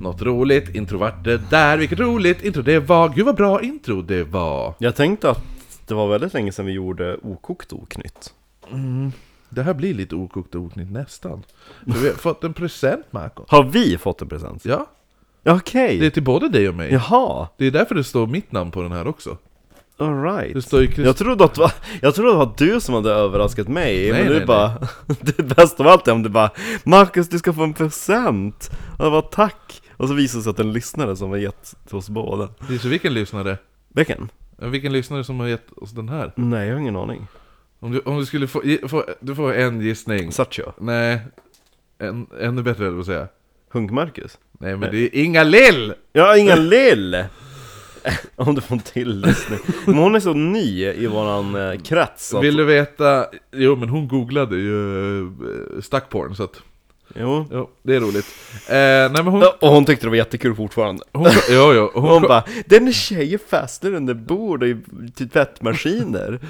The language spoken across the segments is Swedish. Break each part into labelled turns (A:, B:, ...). A: Något roligt, introvert det där, vilket roligt intro det var, gud vad bra intro det var!
B: Jag tänkte att det var väldigt länge sedan vi gjorde okokt oknytt.
A: Det här blir lite okokt och oknytt nästan. För vi har fått en present Marco.
B: Har vi fått en present?
A: Ja,
B: Okej!
A: det är till både dig och mig.
B: Jaha!
A: Det är därför det står mitt namn på den här också. Det
B: Alright.
A: står ju Krist-
B: Jag trodde, att, va- jag trodde att det var du som hade överraskat mig,
A: Nej,
B: men du
A: nej,
B: bara... Det bästa av allt är om du bara Marcus, du ska få en present! Och jag bara tack! Och så visade det sig att det är en lyssnare som har gett till oss båda.
A: Det är så vilken lyssnare?
B: Vilken?
A: Vilken lyssnare som har gett oss den här?
B: Nej, jag har ingen aning.
A: Om du, om du skulle få, ge- få, du får en gissning.
B: Satcho?
A: Nej, en, ännu bättre höll jag på att säga.
B: Hunk-Marcus?
A: Nej men det är Inga Lill!
B: Jag har ingen lill! Om du får en till lyssning. Men hon är så ny i våran eh, krets. så Att...
A: Vill du veta? Jo men hon googlade ju eh, stackporn så att,
B: Jo.
A: jo, det är roligt. Eh, nej men hon,
B: Ja, Och hon tyckte det var jättekul fortfarande.
A: hon, jo, jo, hon,
B: Hon bara, den är tjejer fastnar under bord och i typ tvättmaskiner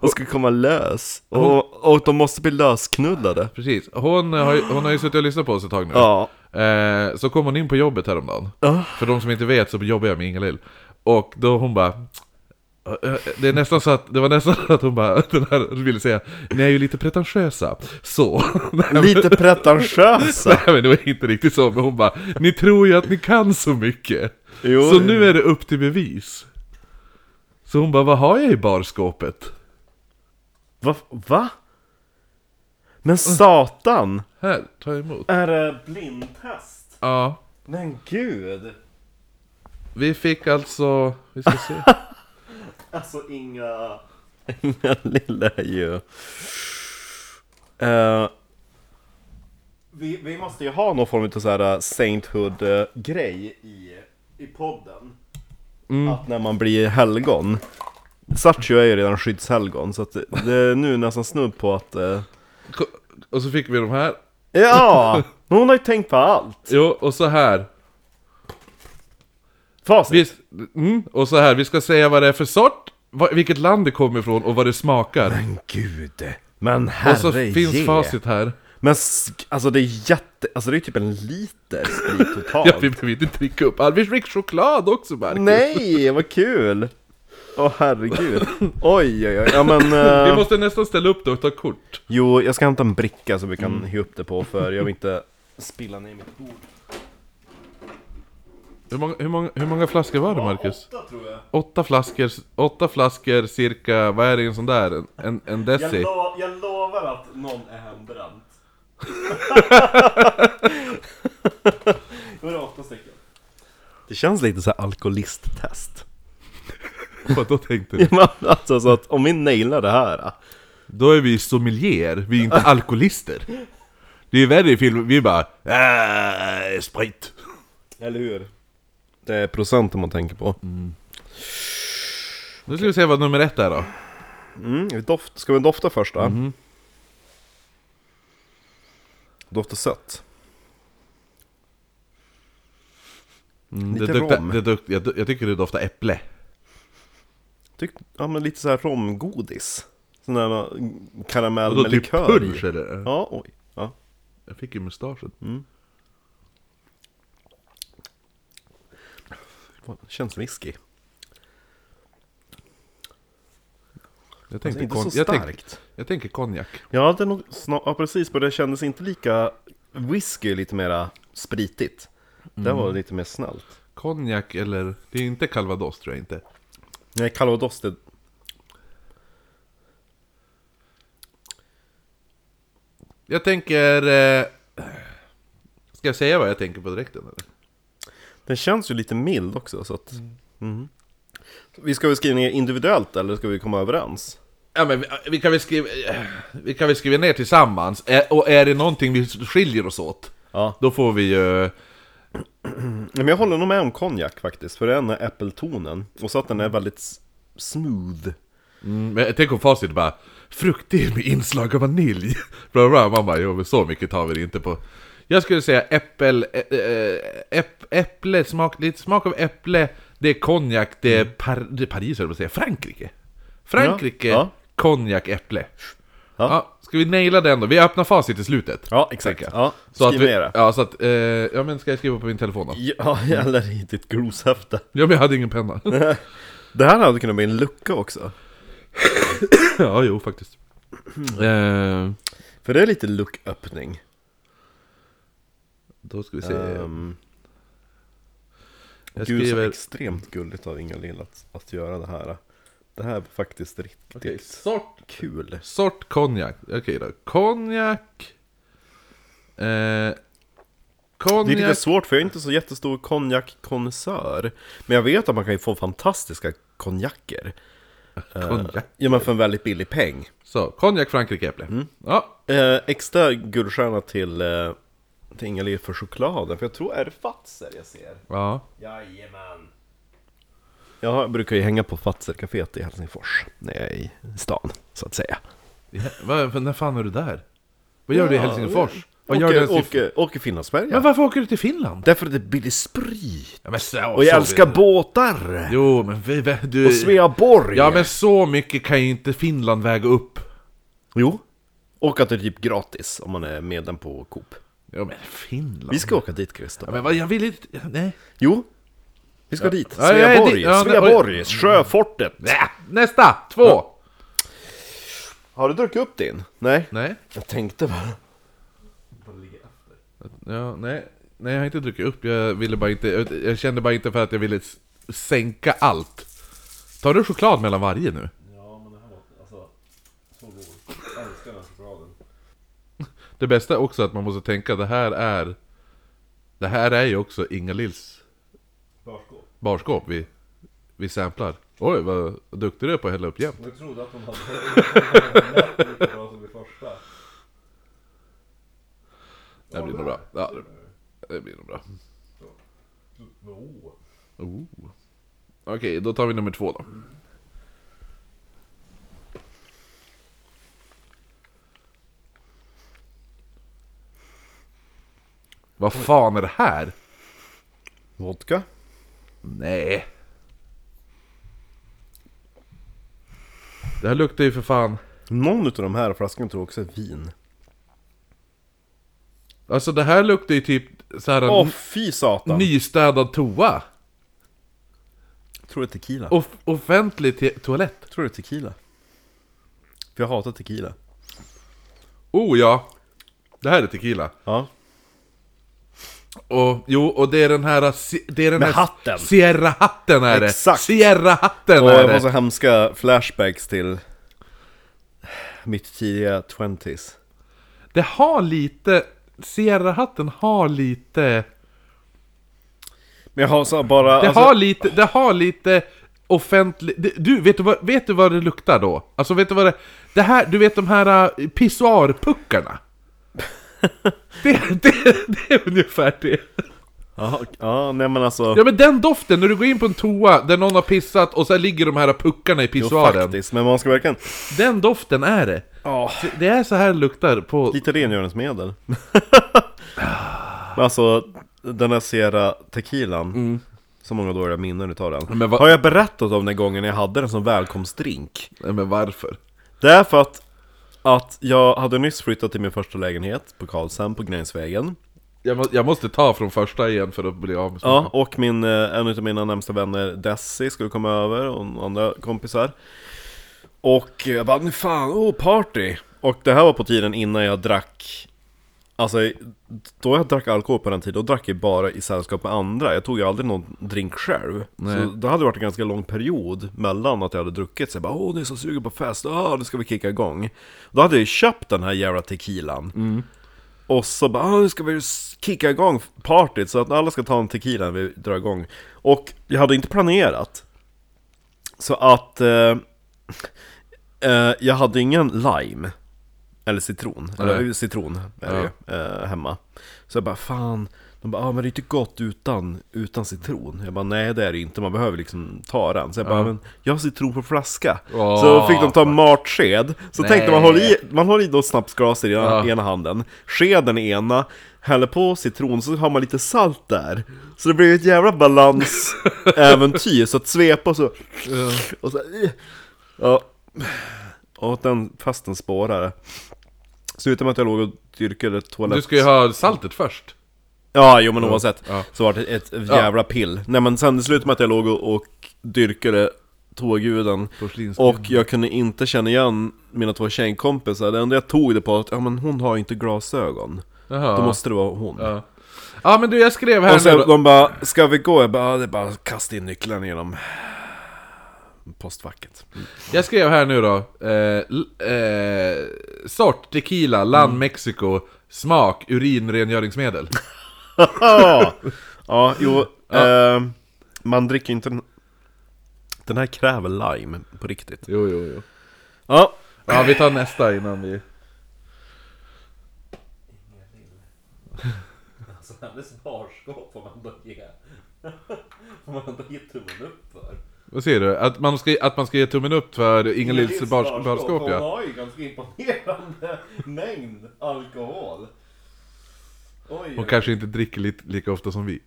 B: och ska komma lös. Och, och de måste bli lösknullade.
A: precis. Hon har, ju- hon har ju suttit och lyssnat på oss ett tag nu.
B: Ja.
A: Eh, så kom hon in på jobbet häromdagen.
B: Ah.
A: För de som inte vet så jobbar jag med Ingalill. Och då hon bara... eh, eh, Det, är nästan så att, det var nästan så att hon bara den här ville säga Ni är ju lite pretentiösa, så... Nej, men-
B: Lite pretentiösa.
A: Nej men det var inte riktigt så, men hon bara Ni tror ju att ni kan så mycket!
B: Jo.
A: Så nu är det upp till bevis! Så hon bara, vad har jag i barskåpet?
B: Va? va? Men satan!
A: Här, ta emot.
B: Är det blindtest?
A: Ja,
B: Men gud!
A: vi fick alltså... Vi ska se.
B: Alltså inga... Inga lilla är ju... Eh, vi, vi måste ju ha någon form av så här eh, Sainthood-grej i, i podden.
A: Mm.
B: Att när man blir helgon. Satcho är ju redan skyddshelgon, så att det- det är nu nästan snudd på att... eh,
A: Ko- Och så fick vi de här.
B: ja! men Hon har ju tänkt på allt!
A: Jo, och så här.
B: Facit!
A: Vi, mm, och så här, vi ska säga vad det är för sort, vad, vilket land det kommer ifrån och vad det smakar.
B: Men gud! Men
A: och så
B: herre
A: finns facit här.
B: Men sk- alltså det är jätte... Alltså det är typ en liter sprit totalt.
A: Ja, vi behöver inte dricka upp allt. Vi fick choklad också Marcus.
B: Nej, vad kul! Åh herregud. Oj, oj, oj. Ja men... eh,
A: Vi måste nästan ställa upp det och ta kort.
B: Jo, jag ska hämta en bricka så vi kan hy upp det på för jag vill inte spilla ner mitt bord.
A: Hur många, hur många, hur många flaskor var det Marcus?
B: Åtta tror jag.
A: Åtta flaskor, åtta flaskor cirka, vad är det i en sån där? En, en, en deci?
B: lo- jag lovar att någon är hembränt. Då är det åtta stycken. Det känns lite så här alkoholisttest.
A: Vad då tänkte
B: Ja,
A: du?
B: men alltså så att om vi nailar det här. eh.
A: Då är vi sommelier, vi är inte alkoholister. Det är värre i film, vi är bara äh, sprit.
B: Eller hur? Mm. Det är procenten man tänker på.
A: Nu ska vi se vad nummer ett är då.
B: Mm, vi doft, ska vi dofta först då? Doftar sött.
A: Mm,
B: Lite
A: det dukta,
B: rom.
A: Det dukta, jag, jag tycker det doftar äpple.
B: Tyck, ja men lite så här romgodis. Sån där mm, karamell
A: Vadå,
B: med
A: typ
B: likör
A: punsch
B: i. Mm.
A: eller?
B: Ja, oj. Ja.
A: Jag fick ju mustaschen.
B: Känns whisky.
A: Jag
B: Alltså,
A: tänkte
B: inte
A: kon-
B: så
A: jag
B: starkt.
A: tänkte, jag tänker konjak.
B: Jag hade nog snar- ja, precis, men det kändes inte lika... Whisky är lite mera spritigt. Det var lite mer snällt.
A: Konjak eller, det är inte calvados tror jag inte.
B: Nej, calvados det...
A: Jag tänker... Eh, ska jag säga vad jag tänker på direkten eller?
B: Den känns ju lite mild också så att... Mm. Vi ska väl skriva ner individuellt eller ska vi komma överens?
A: Ja men vi, vi kan väl skriva, eh, vi kan väl skriva ner tillsammans, Eh, och är det någonting vi skiljer oss åt,
B: Ja.
A: då får vi eh, ju...
B: Nej, men jag håller nog med om konjak faktiskt, för den är Mm. äppeltonen och så att den är väldigt s- smooth.
A: Mm, men tänk om facit bara fruktig med inslag av vanilj. Bla bla, bla. man bara, jo men så mycket tar vi det inte på. Jag skulle säga äppel, ä, ä, äpp, äpple, smak, lite smak av äpple, det är konjak, det
B: Mm.
A: är, par, det är Paris höll jag på att säga, Frankrike. Frankrike,
B: Ja, ja.
A: konjak, äpple. Ja.
B: Ja.
A: ska vi naila den då? Vi öppnar facit i slutet.
B: Ja, exakt.
A: tänker jag.
B: Ja,
A: Så att
B: skriv
A: vi,
B: ner det. Mm.
A: Ja, så att, eh, ja men ska jag skriva på min telefon då?
B: Ja, eller i ditt groshäfte.
A: Ja men jag hade ingen penna.
B: Det här hade kunnat bli en lucka också.
A: ja, jo faktiskt.
B: Mm.
A: Eh,
B: För det är lite lucköppning.
A: då ska vi se.
B: Um,
A: jag
B: Gud, så
A: skriver...
B: extremt gulligt av Inga-Lill att, att göra det här. Det här är faktiskt riktigt
A: Okej, sort,
B: kul.
A: sort konjak. Okej då. Konjak. Eh,
B: Det är lite
A: konjak.
B: svårt för jag är inte så jättestor konjakkonnässör. Men jag vet att man kan ju få fantastiska konjaker.
A: Konjak.
B: Ja, men för en väldigt billig peng.
A: Eh, Så, konjak, Frankrike, äpple. Ja,
B: Eh, extra guldstjärna till, eh, till Inga-Lill för chokladen, för jag tror är det Fatser jag ser?
A: ja.
B: Jajamän! Jag brukar ju hänga på Fatser-caféet i Helsingfors, när jag är i stan, så att säga.
A: Ja, vad- När fan är du där? Vad gör du i
B: Ja,
A: Helsingfors? Vad
B: Åker,
A: gör du i Helsingfors?
B: åker, åker Finlandsberga.
A: Men varför åker du till Finland?
B: Därför att det är billig sprit.
A: Ja, men så,
B: Och jag
A: så-
B: älskar båtar!
A: Jo, men vi, vi, du...
B: Och Sveaborg!
A: Ja, men så mycket kan ju inte Finland väga upp.
B: Jo. Och att det är typ gratis om man är medlem på Coop.
A: Ja, men Finland.
B: Vi ska åka dit
A: Ja,
B: Christer.
A: men vad, jag vill inte... Nej.
B: Jo. Vi ska dit.
A: Ja, ja, ja,
B: Sveaborg.
A: det- ja, det-
B: Sveaborg. Sjöfortet.
A: Nä, Nästa! Två!
B: Har du druckit upp din? Nej.
A: Nej.
B: Jag tänkte bara.
A: Ja, nej. Nej, jag har inte druckit upp. Jag ville bara inte... jag- Jag kände bara inte för att jag ville s- sänka allt. Tar du choklad mellan varje nu?
B: Ja, men det här var alltså så god. Jag älskar den chokladen.
A: Det bästa är också att man måste tänka, det här är... Det här är ju också Inga Lills
B: Varsågod.
A: barskåp vi, vi samplar. Oj, vad duktig du är på att hälla upp jämt.
B: Jag trodde att hon hade lika bra som det första.
A: Det här blir nog bra. Ja, det- det blir nog bra. Oh. Okej, då tar vi nummer två då. Vad fan är det här?
B: Vodka?
A: Nej. Det här luktar ju för fan...
B: Någon utav de här flaskorna tror jag också är vin.
A: Alltså det här luktar ju typ så här en
B: Åh fy satan!
A: nystädad toa.
B: Tror det är tequila.
A: Off- offentlig te- toalett.
B: Tror det är tequila. För jag hatar tequila.
A: Oh ja! Det här är tequila.
B: Ja.
A: Och jo, och det är den här... eh, si- Det är den
B: Med
A: här
B: hatten.
A: Sierra-hatten är det!
B: Exakt.
A: Sierra-hatten
B: Och
A: är
B: jag får
A: det!
B: så hemska flashbacks till mitt tidiga 20s.
A: Det har lite... Sierra-hatten har lite...
B: Men jag har så bara...
A: Det
B: alltså,
A: har lite... Det har lite offentlig... det- Du, vet du, vad, vet du vad det luktar då? Alltså vet du vad det... Det här, du vet de här äh, pissoarpuckarna? det, det, det är ungefär det.
B: Ja, ja, nej men alltså...
A: Ja men den doften, när du går in på en toa där någon har pissat och så ligger de här puckarna i
B: Jo,
A: pissoaren.
B: faktiskt, men man ska verkligen...
A: Den doften är det!
B: Ja,
A: Det är så här det luktar på...
B: lite rengöringsmedel. men alltså, den här Sierra tequilan. Så många dåliga minnen utav den.
A: Mm. Men vad-
B: Har jag berättat om den gången jag hade den som välkomstdrink?
A: Nej, men varför?
B: Det är för att, att jag hade nyss flyttat till min första lägenhet på Karlshamn på Grängesvägen.
A: Jag, må, jag måste ta från första igen för att bli av med
B: Ja, och min, eh, en av mina närmsta vänner Desi skulle komma över och några andra kompisar. Och jag bara, nu fan, oh party! Och det här var på tiden innan jag drack Alltså, då jag drack alkohol på den tiden, då drack jag bara i sällskap med andra. Jag tog ju aldrig någon drink själv.
A: Nej.
B: Så det hade varit en ganska lång period mellan att jag hade druckit. Så jag bara, åh, ni är så sugen på fest, ah, nu ska vi kicka igång. Då hade jag ju köpt den här jävla tequilan. Och så bara, "Ah, nu ska vi kicka igång partyt så att alla ska ta en tequila när vi drar igång. Och jag hade inte planerat. Så att eh, eh, jag hade ingen lime. Eller citron, eller citron är det ju, eh, hemma Så jag bara fan, de bara ah, men det är ju inte gott utan, utan citron Jag bara nej det är det inte, man behöver liksom ta den Så jag bara men jag har citron på flaska
A: Åh,
B: Så då fick de ta matsked, så
A: Nej.
B: tänkte man håller i, man håller i då snapsglaset i ena,
A: Ja.
B: ena handen Skeden i ena, häller på citron så har man lite salt där Så det blir ju ett jävla balansäventyr, så att svepa och så och så, eh. ja. Och den, fast den spårade. Slutade med att jag låg och dyrkade toalett.
A: Du ska ju ha saltet först.
B: Ja, jo men oavsett.
A: Ja.
B: Så var det ett jävla pill. Nej men sen det slutade med att jag låg och, och dyrkade tåguden.
A: Porslinsguden.
B: Och jag kunde inte känna igen mina två tjejkompisar. Det enda jag tog det på att, ja men hon har ju inte glasögon.
A: Jaha.
B: Då måste det vara hon.
A: Ja. ja men du, jag skrev här
B: Och
A: nu
B: så
A: då.
B: de bara, ska vi gå? Jag bara, "Ja, det är bara att kasta in nycklarna genom postfacket.
A: Jag skrev här nu då. Eh, l- eh, sort tequila, land Mexiko, smak urinrengöringsmedel.
B: ja, ja jo, Eh, man dricker ju inte den... Den här kräver lime på riktigt.
A: Jo, jo, jo.
B: Ja,
A: Ja, vi tar nästa innan vi...
C: Alltså hennes barskap får man ändå ge... får man ändå ge tummen upp för.
A: Vad säger du? Att man ska, att man ska ge tummen upp för Ingelils
C: Hennes
A: bars, barskåp,
C: Hon
A: ja.
C: har ju ganska imponerande mängd alkohol. Oj.
A: Hon kanske inte dricker li, lika ofta som vi.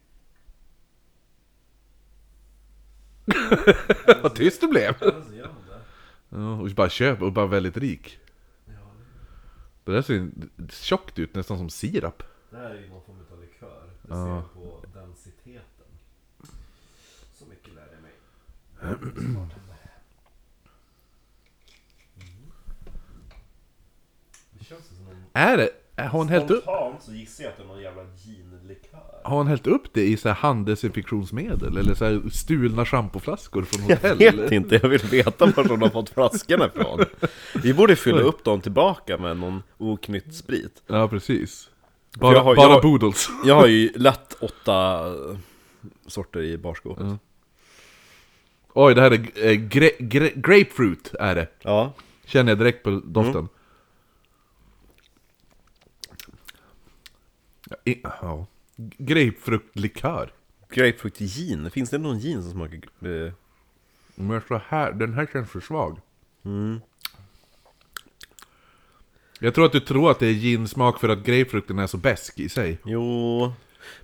A: Vad tyst du blev!
C: Alltså, gör hon det?
A: Ja, och bara köp och bara väldigt rik. Det där ser ju tjockt ut, nästan som sirap.
C: Det här är ju någon form av likör. Det ser jag på densiteten. Så mycket lärde jag mig. Mm. Det känns som någon...
A: Är det? Har hon hällt upp?
C: Spontant så gissar jag att det är någon jävla ginlikör.
A: Har hon hällt upp det i så här handdesinfektionsmedel? Eller så här stulna schampoflaskor från
B: jag
A: hotell?
B: vet inte, jag vill veta var de har fått flaskorna ifrån. Vi borde fylla upp dem tillbaka med någon oknytt sprit.
A: Ja, precis. Bara,
B: har-
A: bara
B: jag har-
A: boodles.
B: Jag har ju lätt åtta sorter i barskåpet.
A: Oj, det här är eh, gre- gre- grapefruit, är det.
B: Ja,
A: Känner jag direkt på doften.
B: Mm.
A: Ja, i- ja. Grapefruktlikör.
B: grapefruit gin. Finns det någon gin som smakar... eh,
A: Men så här, den här känns för svag.
B: Mm.
A: Jag tror att du tror att det är ginsmak för att grapefrukten är så besk i sig.
B: Jo...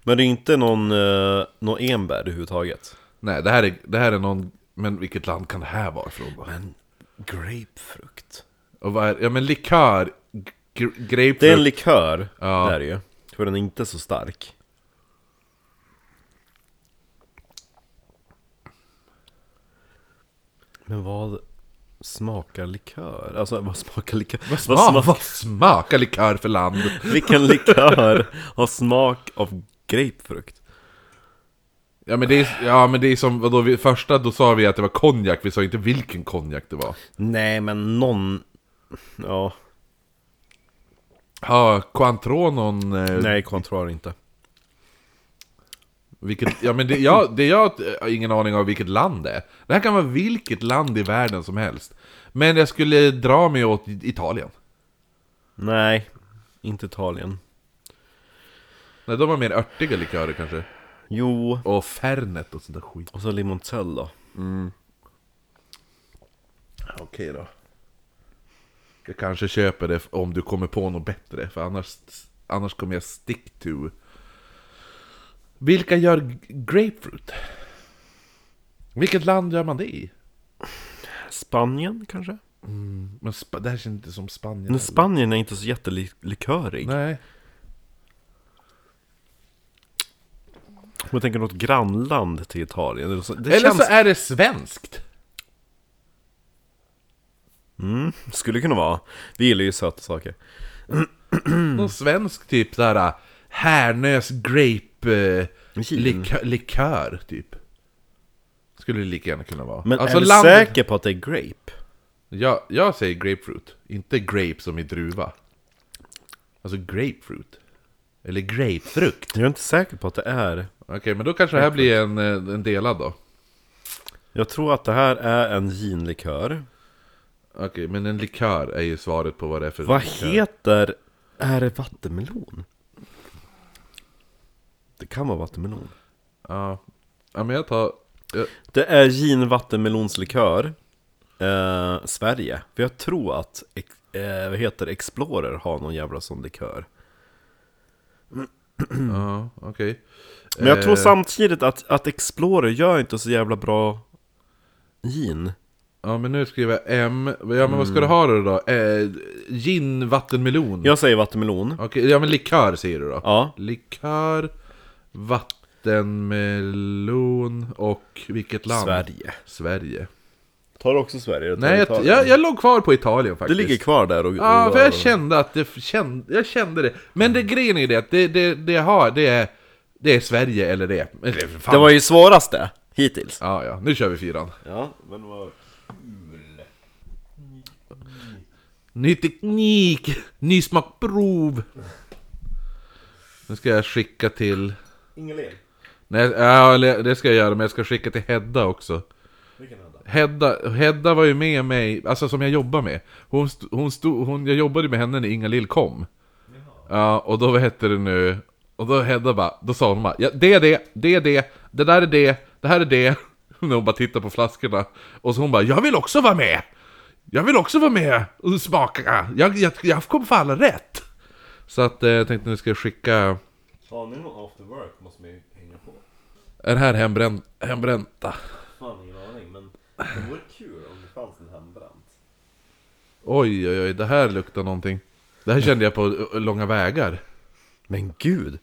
B: Men det är inte någon, eh, någon enbär överhuvudtaget.
A: Nej, det här är, det här är någon... Men vilket land kan det här vara från då?
B: Men grapefrukt?
A: Och vad är, ja men likör, gr- grapefrukt...
B: Det är en likör,
A: Ja.
B: det är det ju. För den är inte så stark. Men vad smakar likör? Alltså vad smakar likör? Vad
A: smak,
B: smak-
A: Ah, vad smakar likör för land?
B: Vilken likör har smak av grapefrukt?
A: Ja men det är, ja, men det är som, vadå, vi, första då sa vi att det var konjak, vi sa inte vilken konjak det var.
B: Nej men någon... Ja,
A: Ja, Cointreau eh,
B: nej kontrar inte.
A: vilket, ja men det, jag, det jag har ingen aning om vilket land det är. Det här kan vara vilket land i världen som helst. Men jag skulle dra mig åt Italien.
B: Nej, inte Italien.
A: Nej, de har mer örtiga likörer kanske.
B: Jo,
A: Och Fernet och sånt där skit.
B: och så limoncello.
A: Okej då. Jag kanske köper det om du kommer på något bättre, för annars, annars kommer jag stick to. Vilka gör g- grapefruit? Vilket land gör man det i?
B: Spanien kanske?
A: Men Sp- det här känns inte som Spanien.
B: Men
A: heller.
B: Spanien är inte så jättelikörig.
A: Nej.
B: Om jag tänker något grannland till Italien. Det, det
A: Eller
B: känns...
A: så är det svenskt.
B: skulle kunna vara. Vi gillar ju söta saker. Mm.
A: Någon svensk typ såhär Härnös grape eh,
B: Gin.
A: likö- likör typ. Skulle det lika gärna kunna vara. Alltså
B: Men är du
A: landet-
B: säker på att det är grape?
A: Jag, jag säger grapefruit, inte grape som i druva. Alltså grapefruit. Eller grapefrukt.
B: Jag är inte säker på att det är.
A: Okej, men då kanske det här blir en, eh, en delad då.
B: Jag tror att det här är en ginlikör.
A: Okej, men en likör är ju svaret på vad det är för
B: Vad
A: likör.
B: heter... Är det vattenmelon? Det kan vara vattenmelon.
A: Ja. ja, men jag tar... Jag,
B: Det är gin vattenmelonslikör. Eh, Sverige. För jag tror att ex- eh, vad heter det? Explorer har någon jävla sån likör.
A: ja, okej.
B: Men jag tror
A: Eh,
B: samtidigt att, att Explorer gör inte så jävla bra gin.
A: Ja, men nu skriver jag M. Ja, men vad ska du ha då? då? Eh, gin, vattenmelon?
B: Jag säger vattenmelon.
A: Okej, ja men likör säger du då?
B: Ja.
A: Likör, vattenmelon och vilket land?
B: Sverige.
A: Sverige.
B: Tar du också Sverige?
A: Nej, jag, jag, jag låg kvar på Italien
B: Det
A: faktiskt.
B: ligger kvar där och...
A: Ja,
B: och-
A: för jag kände att det, kände, jag kände det. Men det grejen är det att det, det, det jag har, det är, det är Sverige eller det. Eller fan.
B: Det var ju svåraste hittills.
A: Ja, ja, nu kör vi fyran.
B: Ja, men vad...
A: Ny teknik, ny smakprov. Nu ska jag skicka till...
C: Ingelén.
A: Nej, ja, eller det ska jag göra, men jag ska skicka till Hedda också.
C: Vilken enda?
A: Hedda, Hedda var ju med mig, alltså som jag jobbar med. Hon st- hon stod, hon, jag jobbade med henne när Inga Lill kom. Ja, och då vad hette det nu? Och då Hedda bara, då sa hon bara, ja, det är det, det är det, det där är det, det här är det. När hon bara tittar på flaskorna. Och så hon bara, jag vill också vara med! Jag vill också vara med och smaka! Jag, jag, jag kom för alla rätt! Så att eh, jag tänkte nu ska jag skicka...
C: Har ni någon after work måste man ju hänga på.
A: Är det här hembränt, hembränta?
C: Fan ingen aning men det vore kul om det fanns en hembränt.
A: Oj, oj, oj, det här luktar någonting. Det här kände jag på ö, ö, långa vägar.
B: Men gud!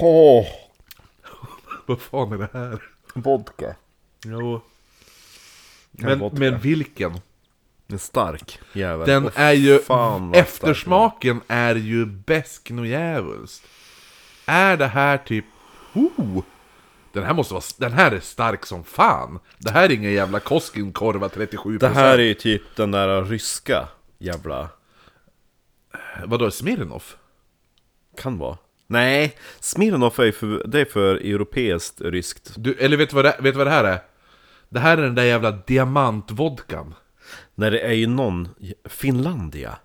B: Åh!
A: Vad fan är det här?
B: vodka.
A: Jo.
B: Här
A: Men,
B: vodka.
A: men vilken?
B: En stark jävel.
A: Den
B: Åh,
A: är ju...
B: fan vad
A: eftersmaken är ju besk och djävulskt. Är det här typ... Oh! Den här måste vara... Den här är stark som fan! Det här är ingen jävla Koskenkorva 37%.
B: stark. Det här är ju typ den där ryska jävla...
A: Vadå, Smirnoff?
B: Kan vara. Nej, Smirnoff är ju för, det är för europeiskt ryskt.
A: Du, eller vet du, vad det, vet du vad det här är? Det här är den där jävla diamantvodkan.
B: När det är ju någon... Finlandia.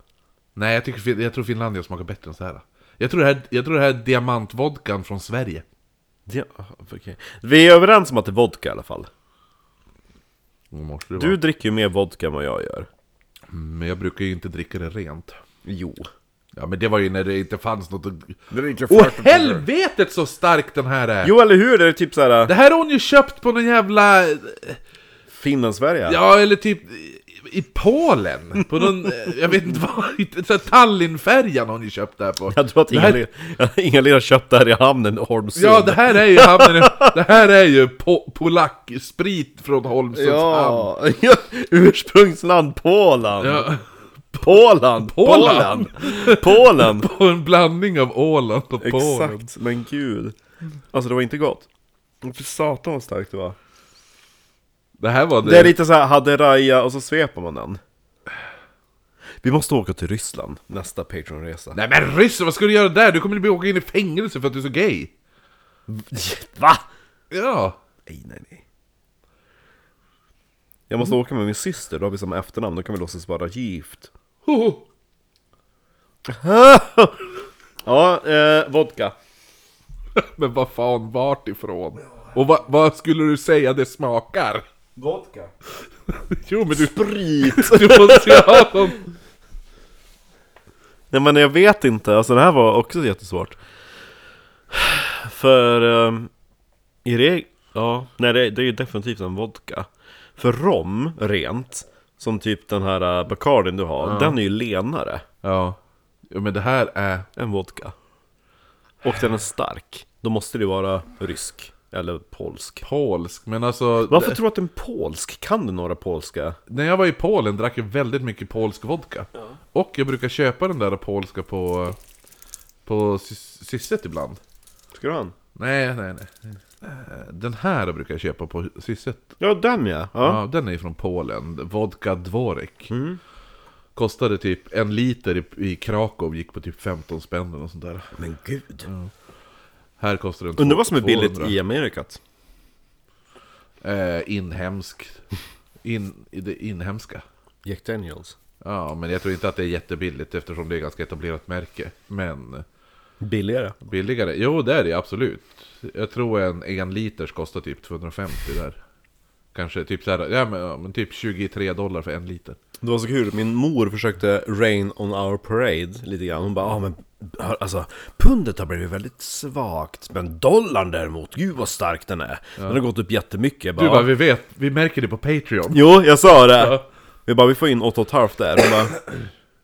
A: Nej, jag, tycker, Fin- jag tror Finlandia smakar bättre än så här. Jag tror det här, jag tror det här är diamantvodkan från Sverige.
B: Det, okej. Vi är överens om att det är vodka i alla fall.
A: Vad Måste det
B: Du
A: vara.
B: dricker ju mer vodka än vad jag gör.
A: Men jag brukar ju inte dricka det rent.
B: Jo.
A: Ja men det var ju när det inte fanns något att...
B: Det är
A: Åh helvetet så stark den här är!
B: Oh, Jo eller hur, det är typ såhär
A: Det här har hon ju köpt på någon jävla...
B: Finland-Sverige
A: Ja eller typ i- i Polen! På någon, eh, jag vet inte vad, inte- så här Tallinnfärjan har hon ju köpt det här på.
B: Jag tror att
A: Det här-
B: Inga-Lill Inga har köpt det här i hamnen i Holmsund
A: Ja det här är ju hamnen, i- det här är ju po- polacksprit från Holmsunds hamn.
B: Ja, ja, ursprungsland Polen!
A: Ja.
B: Polen!
A: Polen.
B: Polen! Polen!
A: Och en blandning av Åland och Polen.
B: Exakt, men gud Alltså det var inte gott Fy satan vad starkt det var
A: Det här var det...
B: Det är lite så här hade raja och så sveper man den Vi måste åka till Ryssland nästa Patreon-resa
A: Nej men ryssen, vad ska du göra där? Du kommer bli åka in i fängelse för att du är så gay!
B: Va?
A: Ja!
B: Nej, nej, nej. Jag måste åka med min syster, då har vi samma efternamn, då kan vi låtsas vara gift.
A: Hoho.
B: Ja, eh, vodka.
A: Men vad fan, vart ifrån? Och vad, vad skulle du säga det smakar?
C: Vodka?
A: Jo men du,
B: Sprit!
A: du måste ju ha någon...
B: nej men jag vet inte, alltså det här var också jättesvårt. För... ehm, I reg... Ja, nej det, det är ju definitivt en vodka. För rom, rent, som typ den här eh, Bacardin du har, den är ju lenare
A: Ja. ja, men det här är...
B: än vodka. Och den är stark. Då måste det ju vara rysk, eller polsk.
A: Polsk, men alltså...
B: Varför
A: det-
B: tror du att en polsk kan du några polska?
A: När jag var i Polen drack jag väldigt mycket polsk vodka. Och jag brukar köpa den där polska på... På sys- Sysset ibland.
B: Ska du ha en?
A: Nej, nej, nej. Eh, Den här brukar jag köpa på Sysset.
B: Ja, den ja!
A: Ja, den är ju från Polen. Vodka Dvorek. Kostade typ en liter i, i Krakow, gick på typ 15 spänn eller något sånt där.
B: Men gud!
A: Här kostar den
B: Undrar vad som är billigt
A: 200.
B: i Amerikat?
A: Eh, inhemsk. In, i det inhemska.
B: Jack Daniels.
A: Ja, men jag tror inte att det är jättebilligt eftersom det är ganska etablerat märke. Men
B: Billigare.
A: billigare? Jo, det är det absolut. Jag tror en, en liters kostar typ 250 där. Kanske typ så här, ja men, ja, men typ 23 dollar för en liter.
B: Det var så kul, min mor försökte rain on our parade lite grann. Hon bara, ja ah, men alltså pundet har blivit väldigt svagt. Men dollarn däremot, gud vad stark den är. Den har gått upp jättemycket. Jag
A: Du
B: Bara,
A: bara, vi vet, vi märker det på Patreon.
B: Jo, jag sa det.
A: Ja.
B: Vi bara, vi får in 8,5 där.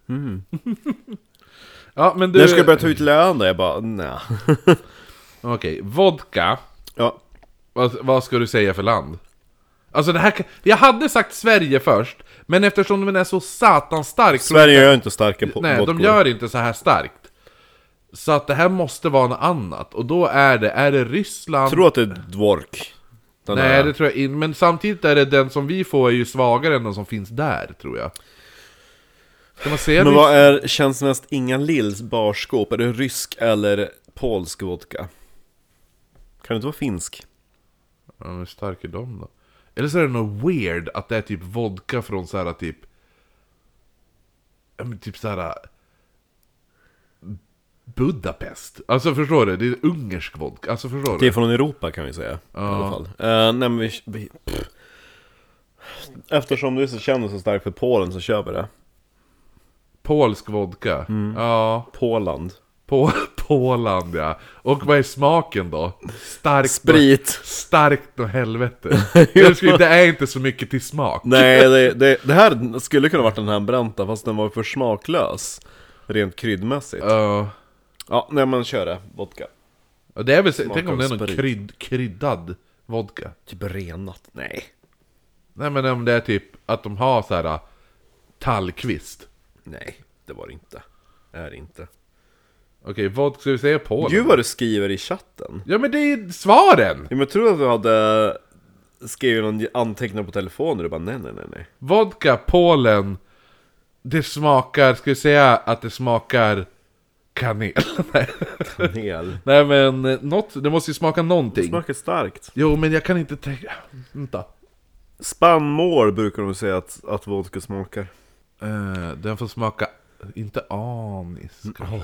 B: Hon bara,
A: Ja, men du...
B: när ska jag börja ta ut lön då? Jag bara, nej.
A: Okej, vodka.
B: Ja.
A: Vad, vad ska du säga för land? Alltså det här kan- Jag hade sagt Sverige först, men eftersom den är så satans stark... tror
B: Sverige gör inte starka på
A: Nej, de
B: vodkor.
A: gör inte så här starkt. Så att det här måste vara något annat, och då är det, är det Ryssland?
B: Jag tror att det är dvork. Den
A: Nej,
B: här-
A: det tror jag inte, men samtidigt är det den som vi får är ju svagare än den som finns där, tror jag. Ska man säga
B: Men
A: Ryssland?
B: vad är, känns mest Inga Lills barskåp? Är det rysk eller polsk vodka? Kan det inte vara finsk?
A: Ja, men hur stark är de då? Eller så är det något weird att det är typ vodka från så här typ... Ja, men typ så här... Budapest. Alltså förstår du? Det är ungersk vodka. Alltså förstår
B: Det
A: du?
B: är från Europa kan vi säga. I alla fall. Eh, nej men vi... vi pff. Eftersom du är så känd och så stark för Polen så kör vi det.
A: Polsk vodka.
B: Mm.
A: Ja.
B: Poland.
A: På Poland ja. Och vad är smaken då? Starkt.
B: Sprit.
A: Starkt och helvete. Det skulle- det är inte så mycket till smak.
B: Nej, det, det, det här skulle kunna varit den här bränta fast den var för smaklös. Rent kryddmässigt.
A: Ja.
B: Ja, nej men kör det. Vodka.
A: Och det är väl, tänk om
B: av
A: det är någon
B: sprit.
A: krydd, kryddad vodka.
B: Typ renat. Nej.
A: Nej men om det är typ att de har så här tallkvist.
B: Nej, det var det inte. Är det inte.
A: Okej, vad ska vi säga Polen?
B: Gud vad du skriver i chatten.
A: Ja men det är ju svaren!
B: Ja, men jag tror att du hade skrivit någon anteckning på telefonen och du bara nej, nej, nej, nej.
A: Vodka, Polen. Det smakar, ska vi säga att det smakar kanel? Nej.
B: Kanel.
A: Nej men eh, något, det måste ju smaka någonting.
B: Smakar starkt.
A: Jo men jag kan inte tänka... Vänta.
B: Spannmål brukar de säga att, att vodka smakar.
A: Eh, den får smaka, inte anis. kanske.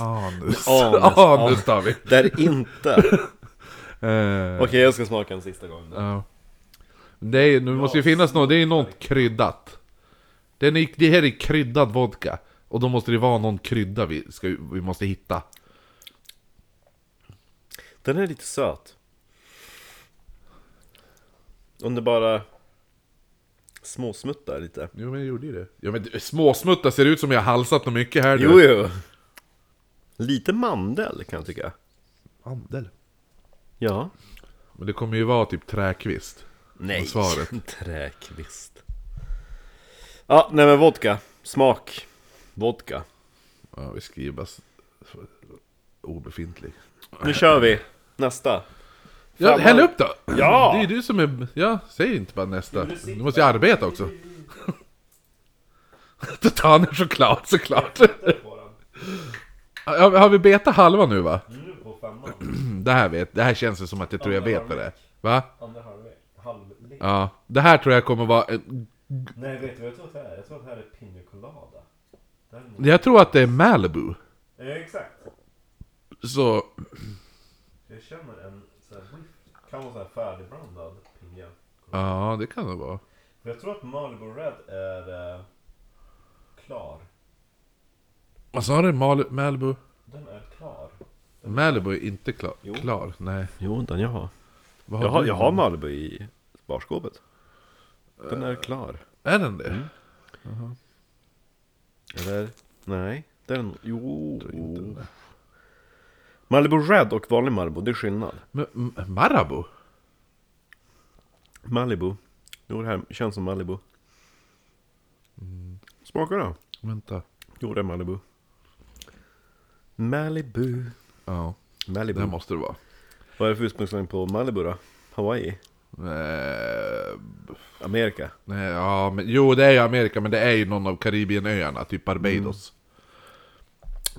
A: Anus.
B: Anus.
A: Mm, Anus tar vi.
B: Där inte. Okej,
A: Eh,
B: jag ska smaka en sista gång. då.
A: Ja. Det är, nu måste ju finnas något, det är ju något kryddat. Den är, det här är kryddad vodka. Och då måste det vara någon krydda vi, ska, vi måste hitta.
B: Den är lite söt. Om det bara småsmuttar lite.
A: Jo men jag gjorde ju det. Ja men du, småsmutta ser ut som jag har halsat något mycket här du.
B: Jo, jo. Lite mandel kan jag tycka.
A: Mandel.
B: Ja.
A: Men det kommer ju vara typ träkvist.
B: Nej,
A: Vad svaret?
B: träkvist. Ja, nej men vodka. Smak. Vodka.
A: Ja vi skriver bara s- s- obefintlig.
B: Nu kör vi. Nästa.
A: Ja
B: Fan,
A: häll
B: man-
A: upp då!
B: Ja!
A: Det är ju du som är... Ja, säg inte bara nästa.
C: du sitter-
A: Du måste ju arbeta också. Då tar han en choklad såklart.
C: på den.
A: Har har vi betat halva nu va?
C: Nu på femman.
A: Det här, vet, det här känns ju som att jag tror jag vet vad det är. Va?
C: Andra halvlek. Halvlek.
A: Ja. Det här tror jag kommer vara... eh, en-
C: Nej, vet du vad jag tror att det är? Jag tror att det här är Pina Colada. Det här är nog-
A: Jag tror att det är Malibu.
C: Ja, exakt.
A: Så...
C: Jag känner en så här, whiff. kan vara så här färdigblandad pinja.
A: Ja, det kan det vara.
C: För jag tror att Malibu Red är eh, klar.
A: Vad sa du? Mal- Malibu?
C: Den är klar.
A: Malibu är inte klar. Klar? Nej.
B: Jo, den jag har.
A: Vad
B: Jag har,
A: du?
B: jag har Malibu i barskåpet. Den
C: Eh,
B: är klar.
A: Är den
B: Mm.
A: det?
B: Eller? Nej. Den, jo. Malibu Red och vanlig Malibu, det är skillnad.
A: Men, M- Marabou?
B: Malibu. Jo, det här känns som Malibu. Smakar det?
A: Vänta.
B: Mm. Jo, det är Malibu. Malibu.
A: Ja, det här
B: Malibu.
A: måste det vara.
B: Vad är det för ursprungsland på Malibu då? Hawaii?
A: Eh,
B: Amerika?
A: nej, ja, men, jo, det är ju Amerika, men det är ju någon av Karibienöarna, typ Barbados.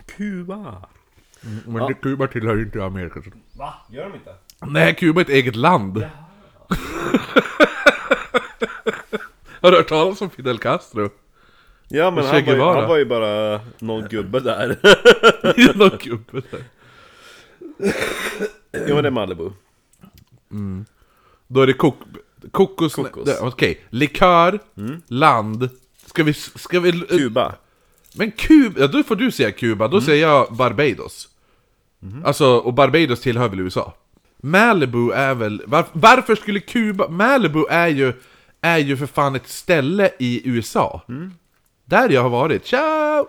B: Kuba!
A: Mm. Men det- Kuba tillhör ju inte Amerika. så-
C: Va? Gör de inte?
A: Nej, Kuba är ett eget land. Har du hört talas om Fidel Castro?
B: Ja men
A: Che
B: han var, ju,
A: Guevara.
B: han var ju bara någon gubbe där.
A: Någon gubbe där.
B: jo men det är Malibu.
A: Då är det kok kokos... Mm.
B: Kokos.
A: Okej, likör, land. Ska vi... Ska vi
B: Kuba.
A: Men Kuba, ja, då får du säga Kuba, då säger jag Barbados. Alltså, och Barbados tillhör väl USA? Malibu är väl... Var, varför skulle Kuba... Malibu är ju, är ju för fan ett ställe i USA. Där jag har varit. Ciao!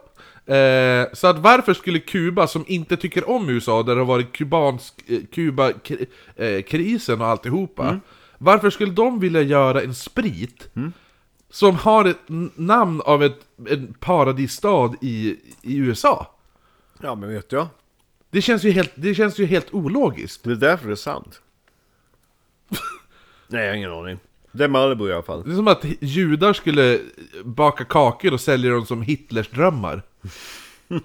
A: Eh, så att varför skulle Kuba, som inte tycker om USA, där det har varit kubansk... Eh, Kuba-krisen och alltihopa. Varför skulle de vilja göra en sprit som har ett n- namn av ett, en paradisstad i, i USA.
B: Ja men vet jag.
A: Det känns ju helt, det känns ju helt ologiskt.
B: Det är därför det är sant. Nej jag har ingen aning. Det är Malibu i alla fall.
A: Det är som att judar skulle baka kakor och sälja dem som Hitlers drömmar.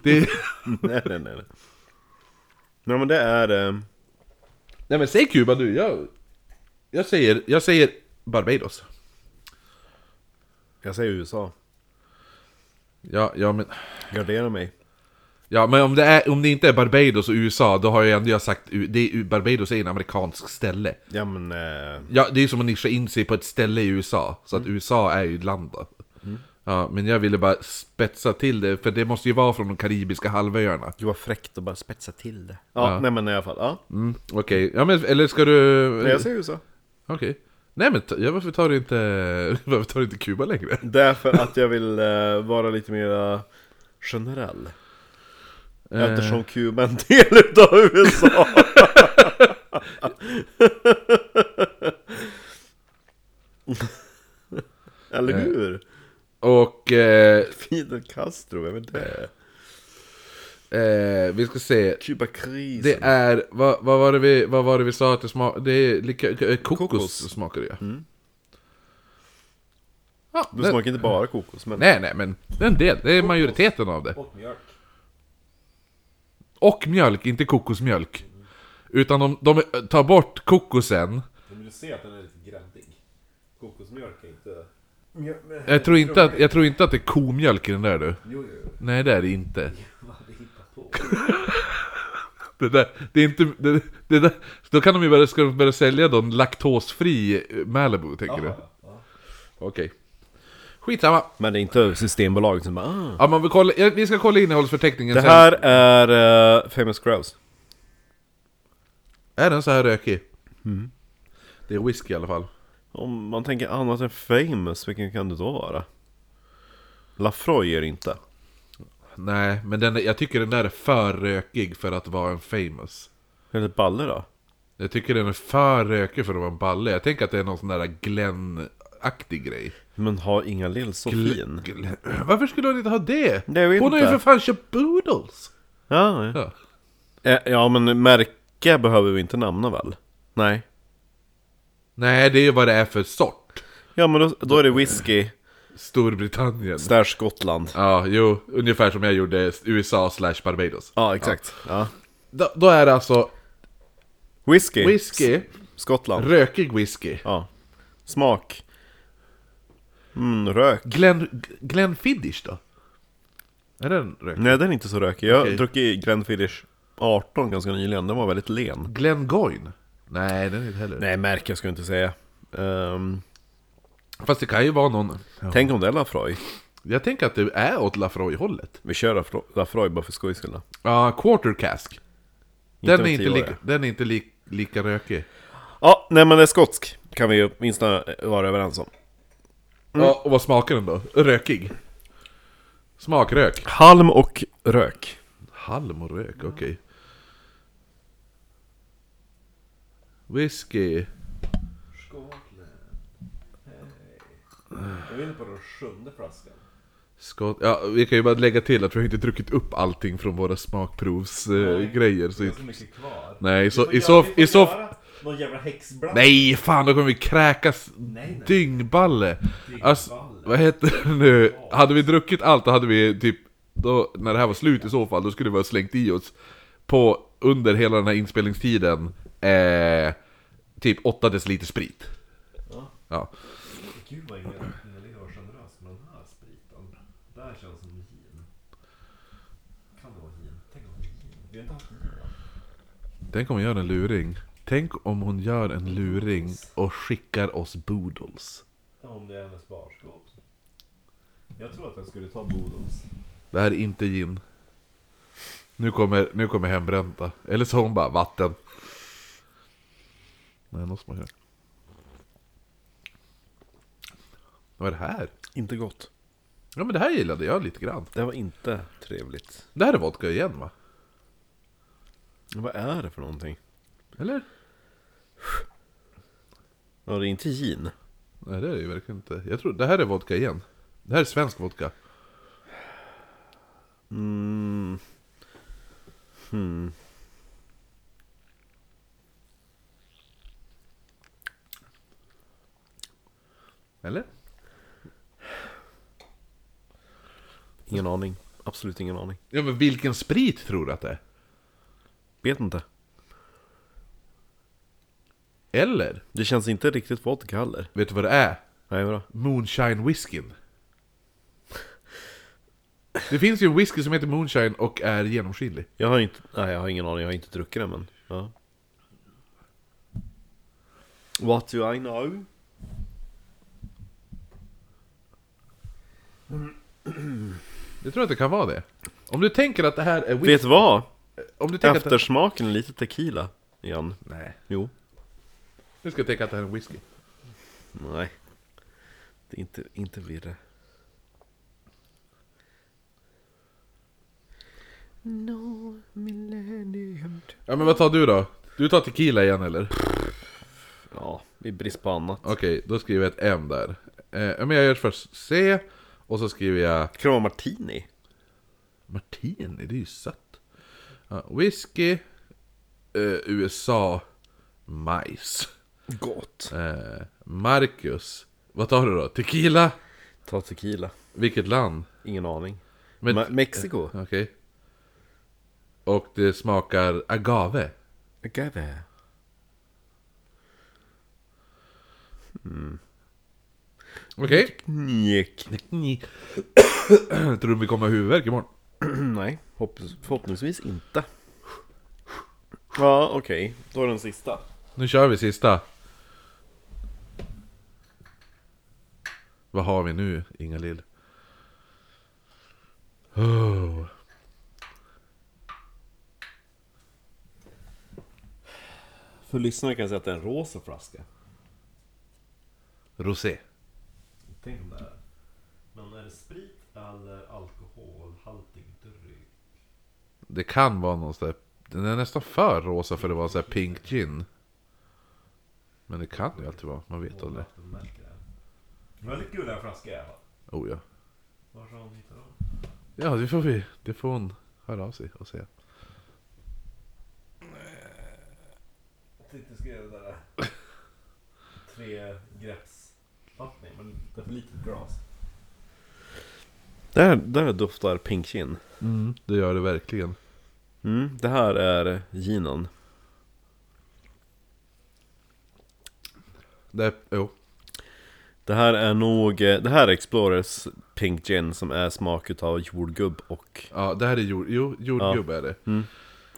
A: Det är,
B: nej nej nej. nej. Nej men det är... Eh,
A: nej men säg Kuba du, jag, jag, säger, jag säger Barbados.
B: jag säger USA.
A: Ja, ja, men,
B: Gardera mig.
A: ja, men om, det är, om det inte är Barbados och USA, då har jag ändå jag sagt U- det är, Barbados är en amerikansk ställe.
B: Ja men... Eh,
A: Ja, det är ju som att nischa in sig på ett ställe i USA, så
B: Mm.
A: att USA är ju ett land då. Ja, men jag ville bara spetsa till det, för det måste ju vara från de karibiska halvöarna.
B: det var fräckt att bara spetsa till det. Ja, nej men i alla fall. Ja.
A: Mm, Okej, ja men eller ska du...
B: Nej,
A: Okej.
B: jag säger USA.
A: Nej men ta, ja, varför tar du inte... Varför tar du inte Kuba längre?
B: Därför att jag vill eh, vara lite mer generell.
A: Eh.
B: Eftersom Kuba är en del utav USA.
A: Eh.
B: Eller hur?
A: Och eh,
B: Fidel Castro, vem är det?
A: eh, vi ska se...
B: Kubakrisen.
A: Det är, vad, vad, var det vi, vad var det vi sa att det smakade? Det är lika, eh, kokos,
B: Kokos. Mm.
A: smakar det ja.
B: Det
A: nej-
B: smakar inte bara kokos, men...
A: Nej, nej, men det är en del. Det är majoriteten av det.
C: Och mjölk.
A: Och mjölk, inte kokosmjölk. Utan de, de tar bort kokosen.
C: Men du ser att den är lite gräddig. Kokosmjölk är inte... Mjö-
A: Jag tror inte att, jag tror inte att det är komjölk i den där du.
C: Jo, jo, jo.
A: Nej, det är det inte.
C: Vad hade hittat på?
A: Det, där, det är inte... Det, det där, då kan de ju börja, ska de börja sälja dem laktosfri eh, Malibu, tänker du?
C: Ja, ja.
A: Okej. Skitsamma.
B: Men det är inte Systembolaget som bara ah.
A: Ja, men vi, kollar, ja, vi ska kolla innehållsförteckningen
B: Det här är eh, Famous Grouse.
A: sen. Är den så här rökig? Mm. Det är whisky i alla fall.
B: Om man tänker annat än famous, vilken kan det då vara? Lafroy är det inte.
A: Nej, men den, är- jag tycker den där är för rökig för att vara en famous.
B: Eller Balle då?
A: Jag tycker den är för rökig för att vara en balle. Jag tänker att det är någon sån där Glenn-aktig grej.
B: Men har inga lill så fin?
A: Glenn. Varför skulle hon inte ha det?
B: Nej, jag vet
A: hon har ju
B: inte.
A: för fan köpt Boodles!
B: Ja, ja.
A: Ja.
B: Eh, ja, men märke behöver vi inte namna väl? Nej.
A: Nej, det är ju vad det är för sort.
B: Ja, men då, då är det whisky,
A: Storbritannien.
B: där Skottland.
A: Ja, jo, ungefär som jag gjorde USA slash Barbados.
B: Ja, exakt. Ja.
A: Då, då är det alltså
B: Whisky,
A: whisky,
B: Skottland.
A: rökig whisky.
B: Ja. Smak. Mm, rök.
A: Glenn, Glenfiddich då? Är den rökig?
B: Nej, den är inte så rökig. Jag
A: Okej.
B: okay. druck i Glenfiddich 18 ganska nyligen, den var väldigt len.
A: Glengoyne? Nej, den är inte heller.
B: Nej, märke ska jag inte säga. Ehm,
A: Fast det kan ju vara någon...
B: Tänk om det är Lafroy.
A: Jag tänker att det är åt Lafroy-hållet.
B: Vi kör Lafro- Lafroy bara för skojs skull. då.
A: Ja, quarter cask. Den
B: om
A: är, inte
B: tio år,
A: lika, den är inte li, lika rökig.
B: Ja, nej men det är skotsk kan vi ju åtminstone vara överens om.
A: Ja, och vad smakar den då? Rökig? Smakrök?
B: Halm och rök.
A: Halm och rök, okej. Whisky.
C: Skålen. Hej. Jag är inne på den sjunde flaskan.
A: Skott. Ja, vi kan ju bara lägga till att vi har inte druckit upp allting från våra smakprovsgrejer. Eh, grejer,
C: Det är
A: så...
C: så mycket kvar.
A: Nej,
C: Vi
A: så,
C: får
A: i
C: göra-
A: så,
C: vi får
A: i så,
C: göra Någon jävla häxblandning.
A: Nej, fan då kommer vi kräkas
C: Nej, nej.
A: dyngballe. Alltså, vad heter det nu? Hade vi druckit allt då hade vi typ, då, när det här var slut i så fall, då skulle vi ha slängt i oss på, under hela den här inspelningstiden, eh, typ 8 deciliter sprit. Ja.
C: Gud vad Ingela Ingela var generös med den här spriten. Det här känns som gin. Kan det vara gin? Tänk om det är gin. Vi har inte haft gin än.
A: Tänk om hon gör en luring. Tänk om hon gör en luring och skickar oss boodles.
C: Ja, Om det är hennes barskap. Jag tror att jag skulle ta Bodils.
A: Det här är inte gin. Nu kommer, nu kommer hembränta. Eller så hon bara vatten. Nej, något smakar. Vad är det här?
B: Inte gott.
A: Ja men det här gillade jag lite grann.
B: Det var inte trevligt.
A: Det här är vodka igen va?
B: Vad är det för någonting?
A: Eller?
B: Ja, det är inte gin.
A: Nej det är det ju verkligen inte. Jag tror det här är vodka igen. Det här är svensk vodka.
B: Mm. Hmm.
A: Eller?
B: Ingen aning. Absolut ingen aning.
A: Ja men vilken sprit tror du att det är?
B: Vet inte.
A: Eller?
B: Det känns inte riktigt vodka heller.
A: Vet du vad det är?
B: Nej, vadå?
A: Moonshine whiskyn. Det finns ju en whisky som heter Moonshine och är genomskinlig.
B: Jag har inte... Nej, jag har ingen aning. Jag har inte druckit den, men... Ja. What do I know?
A: Jag tror att det kan vara det. Om du tänker att det här är whisky...
B: Vet du vad?
A: Om du tänker att det...
B: Eftersmaken är lite tequila igen.
A: Nej.
B: Jo.
A: Du ska tänka att det här är en whisky.
B: Nej. Det är inte, inte blir det. No millennium.
A: Ja men vad tar du då? Du tar tequila igen eller?
B: Ja, i brist på annat.
A: Okej, då skriver jag ett M där. Eh, ja, men jag gör först C, och så skriver jag
B: Kan det vara martini?
A: Martini, det är ju sött. Ja, whisky, eh, USA, majs.
B: Gott.
A: Eh, Marcus, vad tar du då? Tequila?
B: Ta tequila.
A: Vilket land?
B: Ingen aning.
A: Men-
B: Ma- Mexiko.
A: Okej. Och det smakar agave.
B: Agave.
A: Okej.
B: Njuk.
A: Tror du vi kommer ha huvudvärk imorgon?
B: Nej, hoppas, förhoppningsvis inte. Ja, okej. Då är den sista.
A: Nu kör vi sista. Vad har vi nu, Inga Lill? Oh.
B: För lyssnarna kan jag säga att det är en rosa flaska.
A: Rosé.
C: Tänk om det är. Men är det sprit eller alkoholhaltig dryck?
A: Det kan vara någon sån där... Den är nästan för rosa för det var så här pink gin. Men det kan ju alltid vara, man vet aldrig.
C: Vattenmärke. Väldigt kul den här flaskan i alla fall.
A: Oh ja.
C: Var har hon hittat dem?
A: Ja, det får vi. Det får hon höra av sig och säga.
C: Jag tänkte skriva det där. eh, Tre grepps vattning, men det är för litet glas.
B: Där, där doftar pink gin.
A: Mm, det gör det verkligen.
B: Mm, det här är ginen.
A: Det, jo.
B: Det här är nog, eh, det här är Explorers Pink Gin som är smak utav jordgubb och...
A: Ja, det här är jord, jo, jordgubbe är det.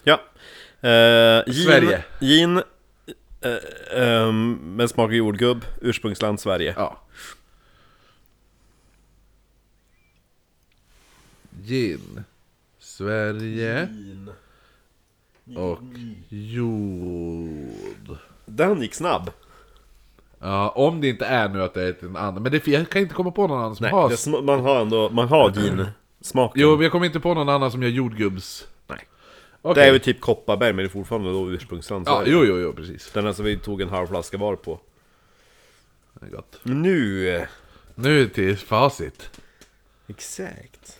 B: Ja! Eh, gin,
A: Sverige.
B: Gin eh, ehm, med smak av jordgubb, ursprungsland Sverige.
A: Ja. Gin. Sverige
C: Gin.
A: och jord.
B: Den gick snabb!
A: Ja, om det inte är nu att det är en annan. Men det, jag kan inte komma på någon annan som
B: Nej,
A: har...
B: det, sm- man har ändå, man har gin-smaken.
A: Jo, men jag kommer inte på någon annan som gör jordgubbs...
B: Nej.
A: Okej.
B: Det är ju typ Kopparberg men det är fortfarande då ursprungsland
A: Ja,
B: Sverige.
A: jo, jo, jo, precis.
B: Den här som vi tog en halv flaska var på.
A: Det är gott.
B: Nu! eh,
A: Nu till facit.
B: Exakt.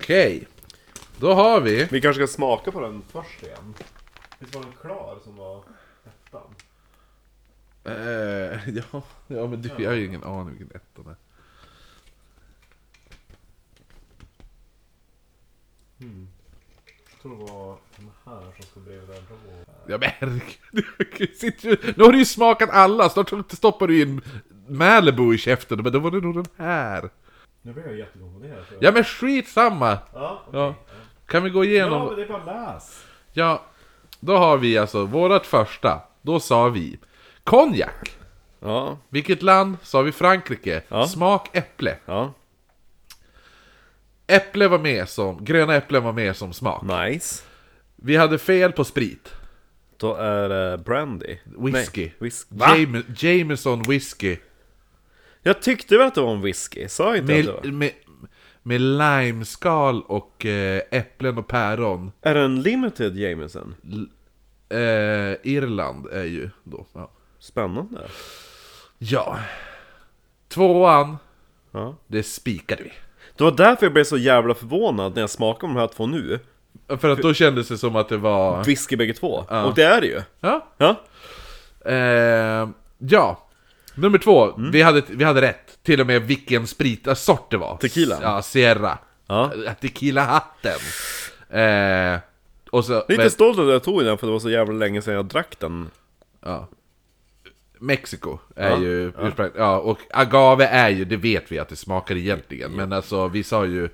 A: Okej. Då har vi...
B: Vi kanske ska smaka på den först igen.
C: Visst var den klar som var ettan?
A: Eh, ja, ja, men du, jag har ju ingen aning vilken ettan är.
C: Jag tror det var den här som stod bredvid den rå.
A: Ja men herregud, sitter ju- nu har du ju smakat alla, snart stoppar du in Malibu i käften, men då var det nog den här.
C: Nu blir jag jättekonfunderad. tror jag.
A: Ja men skitsamma!
C: Ja, okej.
A: Ja. Kan vi gå
C: ja,
A: igenom?
C: men det är bara läs.
A: Ja, då har vi alltså vårat första, då sa vi konjak.
B: Ja,
A: Vilket land? Sa vi Frankrike.
B: Ja.
A: Smak äpple.
B: ja.
A: Äpple var med som, gröna äpplen var med som smak.
B: Mm. Nice.
A: Vi hade fel på sprit.
B: Då är det brandy.
A: Whisky.
B: Nej, whisky.
A: Jame, Jameson whisky.
B: Jag tyckte väl att det var en whisky? Sa jag inte att det
A: Med,
B: var?
A: med, med limeskal och eh, äpplen och päron.
B: Är det en limited Jameson?
A: L- eh, Irland är ju då. Ja.
B: Spännande.
A: ja. Tvåan,
B: Ja.
A: det spikade vi.
B: Det var därför jag blev så jävla förvånad när jag smakade de här två nu.
A: För att då kändes det som att det var...
B: Whisky bägge två. Och det är det ju.
A: Ja.
B: Ja.
A: Eh, ja. Nummer två,
B: Mm.
A: vi, hade, vi hade rätt. Till och med vilken spritsort det var.
B: Tequila.
A: Ja, Sierra.
B: Ja.
A: Tequila-hatten. Eh, och så...
B: Lite
A: men-
B: stolt att jag tog den för det var så jävla länge sedan jag drack den.
A: ja. Mexiko är
B: Ja,
A: ju ursprung- ja, och agave är ju, det vet vi att det smakar egentligen. Men alltså, vi sa ju...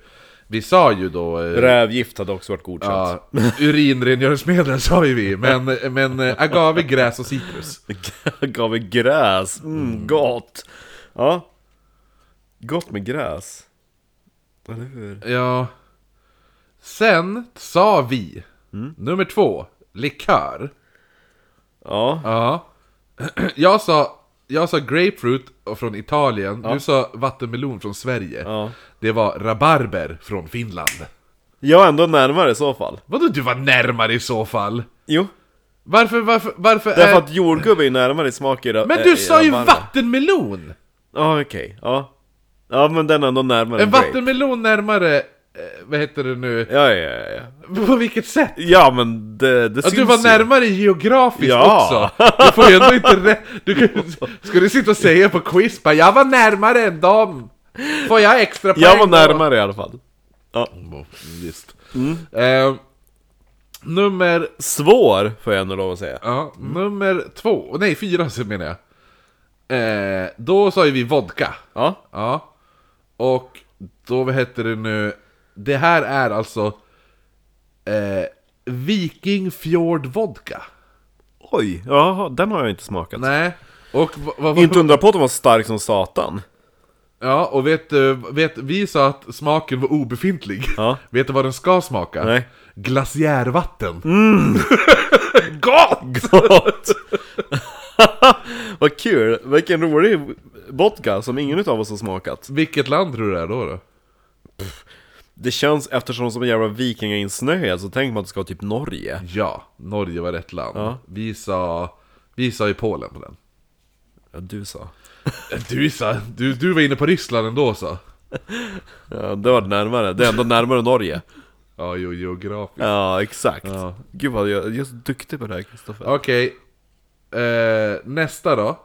A: Vi sa ju då... eh,
B: Rävgift hade också varit godkänt.
A: Ja, urinrengöringsmedel sa ju vi, men, men eh, agave, gräs och citrus.
B: Gav mig gräs, mm, gott! Ja Gott med gräs Eller hur?
A: Ja. Sen sa vi,
B: Mm.
A: nummer två, likör.
B: Ja,
A: Ja. Jag sa, jag sa grapefruit från Italien, du sa vattenmelon från Sverige.
B: Ja.
A: Det var rabarber från Finland.
B: jag är ändå närmare i så fall
A: Vadå du var närmare i så fall?
B: Jo,
A: Varför, varför, varför
B: därför
A: är...
B: att jordgubbe är närmare i smak i ra-
A: Äh. Men
B: eh,
A: du
B: i
A: sa ju
B: rabarber.
A: vattenmelon!
B: Ja okej, ja Ja men den är ändå närmare
A: En
B: grape.
A: vattenmelon närmare, eh, vad heter det nu,
B: Ja ja ja ja
A: på vilket sätt?
B: Ja men det, det
A: Att
B: syns
A: du var
B: ju.
A: närmare geografiskt
B: Ja.
A: också! Du får ju ändå inte rätt... Du kan, ska du sitta och säga på quiz bara, jag var närmare än dem! Får jag extra poäng
B: Jag var
A: då?"
B: närmare i alla fall ja.
A: Mm, Visst. Eh, nummer...
B: Svår får jag ändå lov att säga
A: Ja, nummer två, nej fyra så menar jag. Eh, då sa ju vi vodka.
B: Ja,
A: Ja. Och då, vad heter det nu? Det här är alltså... Eh, Viking Fjord Vodka.
B: oj, jaha, den har jag inte smakat
A: Nej. Och vad, vad,
B: Inte undra på att den var stark som satan
A: Ja, och vet du, vet, vi sa att smaken var obefintlig.
B: Ja.
A: Vet du vad den ska smaka?
B: Nej. Mm.
A: Glaciärvatten. Gott!
B: Gott! Vad kul! Vilken rolig vodka som ingen utav oss har smakat.
A: Vilket land tror du det är då? då?
B: Det känns, eftersom de som en jävla vikingainsnöad, så tänker man att det ska vara typ Norge.
A: Ja, Norge var rätt land.
B: Ja.
A: Vi sa... Vi sa ju Polen på den.
B: Ja, du sa.
A: Du sa... Du, du var inne på Ryssland ändå så.
B: Ja, det var närmare. Det är ändå närmare Norge.
A: Ja, jo, geografiskt.
B: Ja, exakt. Gud vad jag, jag är så duktig på det här Kristoffer.
A: Okej. Eh, nästa då.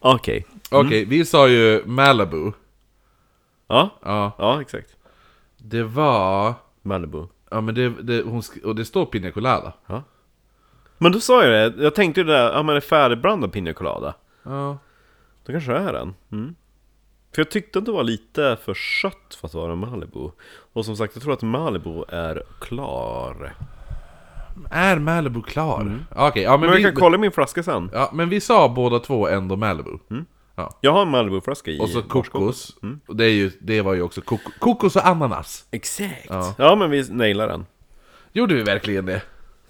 B: Okej.
A: Okej, vi sa ju Malibu.
B: Ja,
A: Ja.
B: ja exakt.
A: Det var...
B: Malibu.
A: Ja men det, det, hon sk- och det står Pina Colada.
B: Men då sa jag det, jag tänkte ju det där, ja men det är färdigblandad Pina Colada.
A: Ja.
B: Då kanske det är den. Mm. För jag tyckte att det var lite för sött för att vara Malibu. Och som sagt, jag tror att Malibu är klar.
A: Är Malibu klar? Okej, ja men,
B: Men jag
A: vi...
B: kan kolla min flaska sen.
A: Ja, men vi sa båda två ändå Malibu. Ja.
B: Jag har en Malibu-flaska i.
A: Och så kokos. Och det, är ju, det var ju också koko, kokos och ananas.
B: Exakt. Ja. ja, men vi nailar den.
A: Gjorde vi verkligen det?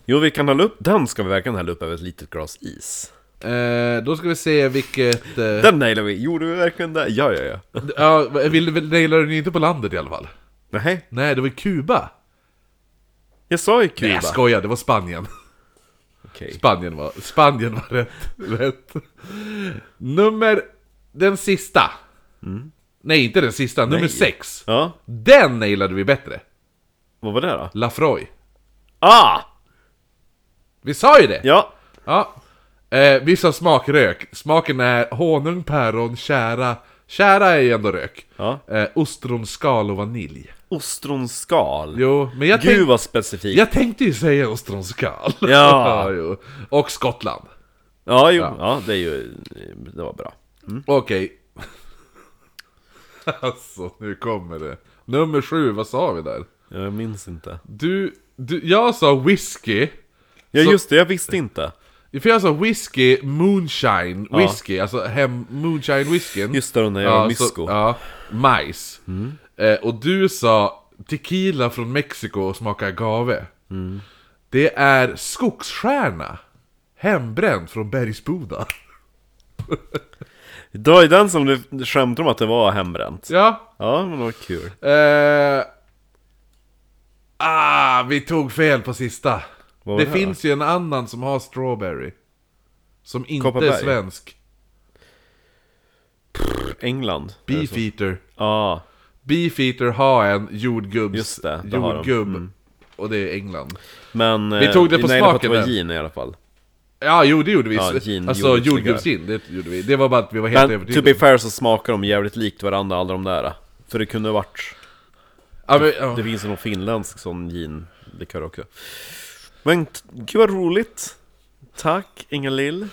B: Jo, vi kan hälla upp, den ska vi verkligen hälla upp över ett litet glas is.
A: Eh, då ska vi se vilket... Eh,
B: Den nailar vi, gjorde vi verkligen det? Ja, ja, ja.
A: ja, vill, vill, nailade den ju inte på landet i alla fall?
B: Nej,
A: Nej, det var ju Kuba.
B: jag sa ju Kuba.
A: Nej, jag skojar, det var Spanien.
B: Okej.
A: Spanien var, Spanien var rätt, rätt. Nummer... Den sista.
B: Mm.
A: Nej, inte den sista, nummer sex.
B: Ja,
A: Den nailade vi bättre.
B: vad var det då?
A: Lafroy.
B: Ah!
A: Vi sa ju det!
B: Ja,
A: Ja. Eh, vi sa smakrök. Smaken är honung, päron, kära, Kära är ju ändå rök.
B: Ja.
A: Eh, ostronskal och vanilj.
B: Ostronskal.
A: Jo, men jag,
B: Gud
A: tänk,
B: vad specifikt.
A: jag tänkte ju säga ostronskal.
B: Ja.
A: jo. Och Skottland.
B: Ja, jo.
A: Ja.
B: Ja. det är ju... Det var bra.
A: Okej. alltså, nu kommer det. Nummer sju, vad sa vi där?
B: Jag minns inte.
A: Du, du jag sa whisky.
B: Ja,
A: Så-
B: just det. Jag visste inte.
A: För jag sa whisky, moonshine, whisky, alltså hem, moonshine whiskyn.
B: Just det, den där jävla Mm. mysko.
A: Så, ja, majs. Eh, och du sa tequila från Mexiko och smaka agave.
B: Mm.
A: Det är skogsstjärna, hembränd från Bergsboda.
B: Det var ju den som du skämtade om att det var hembränt.
A: Ja,
B: Ja, men det var kul.
A: Eh, ah, vi tog fel på sista.
B: Vad var
A: Det
B: det här
A: finns ju en annan som har strawberry. Som inte är
B: Kopparberg?
A: svensk.
B: England. är det så?
A: Beefeater.
B: Ja,
A: Beefeater har en jordgubbs...
B: Just det, det har de. Mm.
A: jordgubb. Och det är England.
B: men... eh,
A: Vi tog det på
B: det
A: smaken
B: var
A: där.
B: gin i alla fall.
A: Ja, jo det gjorde vi.
B: Ja, gin,
A: alltså
B: jordgubbslikör.
A: jordgubbsgin, det gjorde vi. Det var bara att vi var helt
B: Men to
A: övertygade.
B: be fair så smakar de jävligt likt varandra, alla de där. För det kunde ha varit...
A: ja, men, ja.
B: Det finns ju någon finländsk sån gin-likör också. Men t- gud vad roligt! Tack Inga-Lill!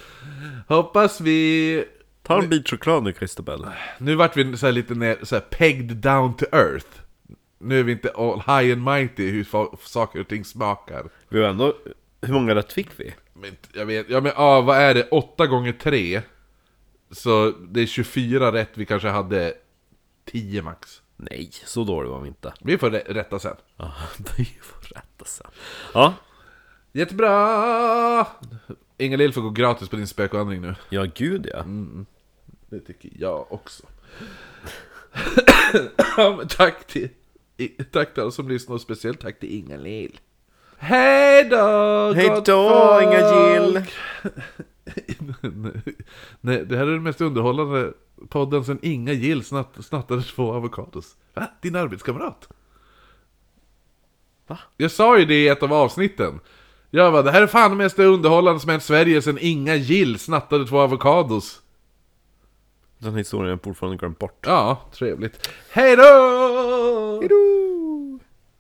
A: Hoppas vi...
B: Ta en bit choklad nu Christobel.
A: Nu vart vi så här lite ner, så här pegged down to earth. Nu är vi inte all high and mighty hur fa- saker och ting smakar.
B: Vi var ändå... Hur många rätt fick vi?
A: Men, jag vet, ja men ah, vad är det? 8 gånger 3 Så det är 24 rätt, vi kanske hade 10 max
B: Nej, så dålig var vi inte.
A: Vi får rä- rätta sen
B: Ja, det är ju vår rätta sen. Ja,
A: Jättebra! Inga-Lill får gå gratis på din spökvandring nu
B: ja gud ja.
A: Det tycker jag också ja, men tack, till, i- tack till alla som lyssnar och speciellt tack till Inga-Lill Hej då!
B: Hej
A: gott
B: då
A: folk!
B: Inga-Gill!
A: Nej, det här är den mest underhållande podden sen Inga Gill snatt, snattade två avokados. Va? Din arbetskamrat?
B: Va?
A: Jag sa ju det i ett av avsnitten. Jag bara, det här är fan det mest underhållande som hänt Sverige sen Inga Gill snattade två avokados.
B: Den historien har jag fortfarande glömt bort.
A: Ja, trevligt. Hej då! Hej då!